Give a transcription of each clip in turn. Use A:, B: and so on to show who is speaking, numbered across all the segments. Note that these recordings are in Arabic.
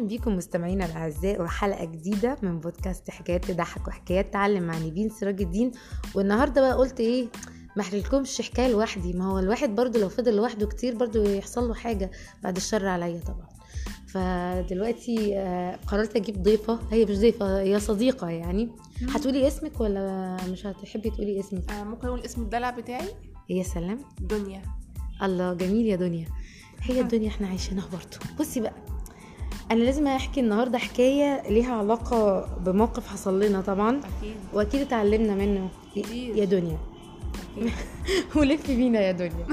A: بيكم مستمعينا الاعزاء وحلقه جديده من بودكاست حكايات تضحك وحكايات تعلم مع نيفين سراج الدين والنهارده بقى قلت ايه ما احكيلكمش حكايه لوحدي ما هو الواحد برضو لو فضل لوحده كتير برضو يحصل له حاجه بعد الشر عليا طبعا فدلوقتي آه، قررت اجيب ضيفه هي مش ضيفه هي صديقه يعني هتقولي اسمك ولا مش هتحبي تقولي اسمك
B: آه، ممكن اقول اسم الدلع بتاعي
A: يا سلام
B: دنيا
A: الله جميل يا دنيا هي
B: نعم.
A: الدنيا احنا عايشينها برضه بصي بقى انا لازم احكي النهارده حكايه ليها علاقه بموقف حصل لنا طبعا
B: اكيد
A: واكيد اتعلمنا منه
B: كتير.
A: يا دنيا
B: أكيد.
A: ولف بينا يا دنيا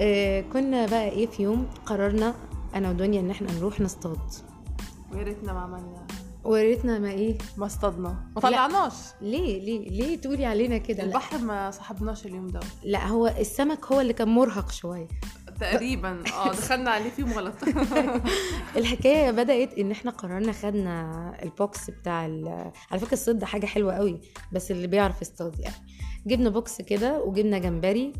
A: آه، كنا بقى ايه في يوم قررنا انا ودنيا ان احنا نروح نصطاد
B: ويا ريتنا ما عملنا
A: وريتنا ما ايه
B: ما اصطادنا ما
A: لا.
B: طلعناش
A: ليه ليه ليه تقولي علينا كده لا.
B: البحر ما صاحبناش اليوم ده
A: لا هو السمك هو اللي كان مرهق شويه
B: تقريبا اه دخلنا عليه فيهم غلط
A: الحكايه بدات ان احنا قررنا خدنا البوكس بتاع ال- على فكره الصيد ده حاجه حلوه قوي بس اللي بيعرف يصطاد يعني جبنا بوكس كده وجبنا جمبري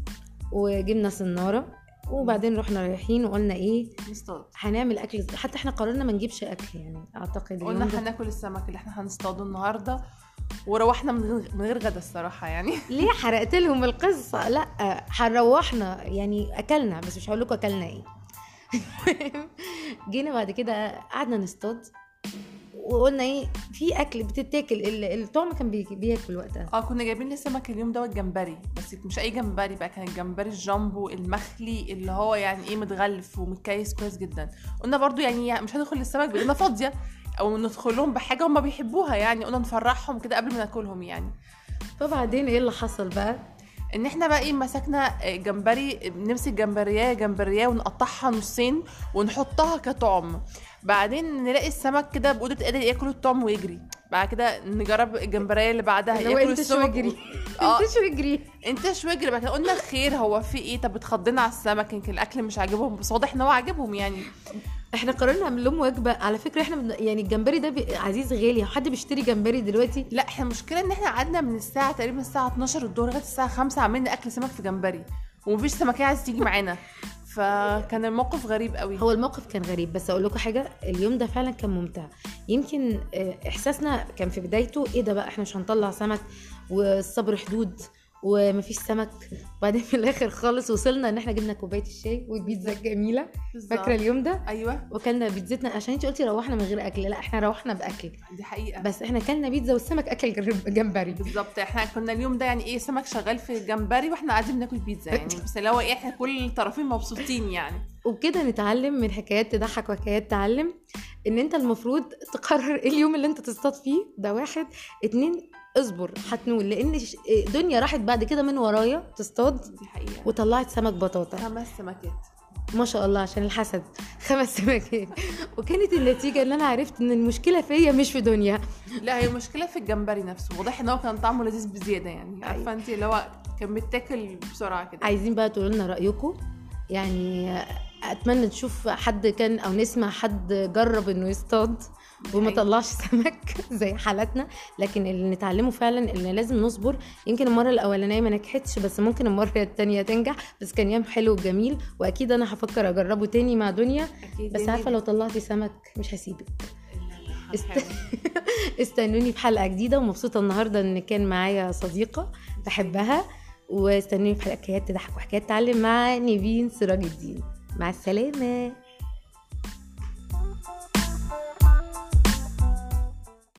A: وجبنا صناره وبعدين رحنا رايحين وقلنا ايه
B: نصطاد
A: هنعمل اكل إز- حتى احنا قررنا ما نجيبش اكل يعني اعتقد اليوم
B: قلنا
A: ده-
B: هناكل السمك اللي احنا هنصطاده النهارده وروحنا من غير- من غير غدا الصراحه يعني
A: ليه حرقت لهم القصه لا هنروحنا يعني اكلنا بس مش هقول لكم اكلنا ايه جينا بعد كده قعدنا نصطاد وقلنا ايه في اكل بتتاكل ال- الطعم كان بي- بياكل وقتها
B: اه كنا جايبين لي سمك اليوم دوت جمبري بس مش اي جمبري بقى كان الجمبري الجامبو المخلي اللي هو يعني ايه متغلف ومتكيس كويس جدا قلنا برضو يعني مش هندخل للسمك بايدينا فاضيه او ندخل لهم بحاجه هم بيحبوها يعني قلنا نفرحهم كده قبل ما ناكلهم يعني
A: فبعدين ايه اللي حصل بقى
B: ان احنا بقى ايه مسكنا جمبري نمسك جمبريه جمبريه ونقطعها نصين ونحطها كطعم بعدين نلاقي السمك كده بقدرة قادر ياكل الطعم ويجري بعد كده نجرب الجمبريه اللي بعدها
A: اللي هو
B: ياكل
A: انت شو
B: السمك
A: اجري
B: اه
A: انت شو اجري
B: انت شو اجري بقى قلنا خير هو في ايه طب اتخضينا على السمك يمكن الاكل مش عاجبهم بس واضح ان هو عاجبهم يعني
A: احنا قررنا نعمل لهم وجبه على فكره احنا بن- يعني الجمبري ده بي- عزيز غالي هو حد بيشتري جمبري دلوقتي
B: لا احنا المشكله ان احنا قعدنا من الساعه تقريبا الساعه 12 الظهر لغايه الساعه 5 عملنا اكل سمك في جمبري ومفيش سمكيه عايز تيجي معانا فكان الموقف غريب قوي
A: هو الموقف كان غريب بس اقول لكم حاجه اليوم ده فعلا كان ممتع يمكن آه، احساسنا كان في بدايته ايه ده بقى احنا مش هنطلع سمك والصبر حدود ومفيش سمك وبعدين في الاخر خالص وصلنا ان احنا جبنا كوبايه الشاي والبيتزا الجميله فاكره
B: بالظبط.
A: اليوم ده
B: ايوه
A: وكلنا بيتزتنا عشان انت قلتي روحنا من غير اكل لا احنا روحنا باكل
B: دي حقيقه
A: بس احنا كلنا بيتزا والسمك اكل جر- جمبري
B: بالظبط احنا كنا اليوم ده يعني ايه سمك شغال في الجمبري واحنا قاعدين بناكل بيتزا يعني بس اللي هو ايه احنا كل الطرفين مبسوطين يعني
A: وبكده نتعلم من حكايات تضحك وحكايات تعلم ان انت المفروض تقرر إيه اليوم اللي انت تصطاد فيه ده واحد اتنين اصبر هتنول لان ش- دنيا راحت بعد كده من ورايا تصطاد
B: دي حقيقه
A: وطلعت سمك بطاطا
B: خمس سمكات
A: ما شاء الله عشان الحسد خمس سمكات وكانت النتيجه ان انا عرفت ان المشكله فيا مش في دنيا
B: لا هي المشكله في الجمبري نفسه واضح ان هو كان طعمه لذيذ بزياده يعني
A: أيوة.
B: عارفه انت اللي هو كان متاكل بسرعه كده
A: عايزين بقى تقولوا لنا رايكم يعني اتمنى نشوف حد كان او نسمع حد جرب انه يصطاد وما
B: حقيقة.
A: طلعش سمك زي حالتنا لكن اللي نتعلمه فعلا اللي لازم نصبر يمكن المره الاولانيه ما نجحتش بس ممكن المره التانية تنجح بس كان يوم حلو وجميل واكيد انا هفكر اجربه تاني مع دنيا
B: اكيد
A: بس
B: يعني-
A: عارفه لو طلعتي سمك مش هسيبك
B: لا، لا،
A: است-
B: هنحاول.
A: استنوني في حلقه جديده ومبسوطه النهارده ان كان معايا صديقه بحبها واستنوني في حلقات تضحك وحكايات تعلم مع نيفين سراج الدين مع السلامه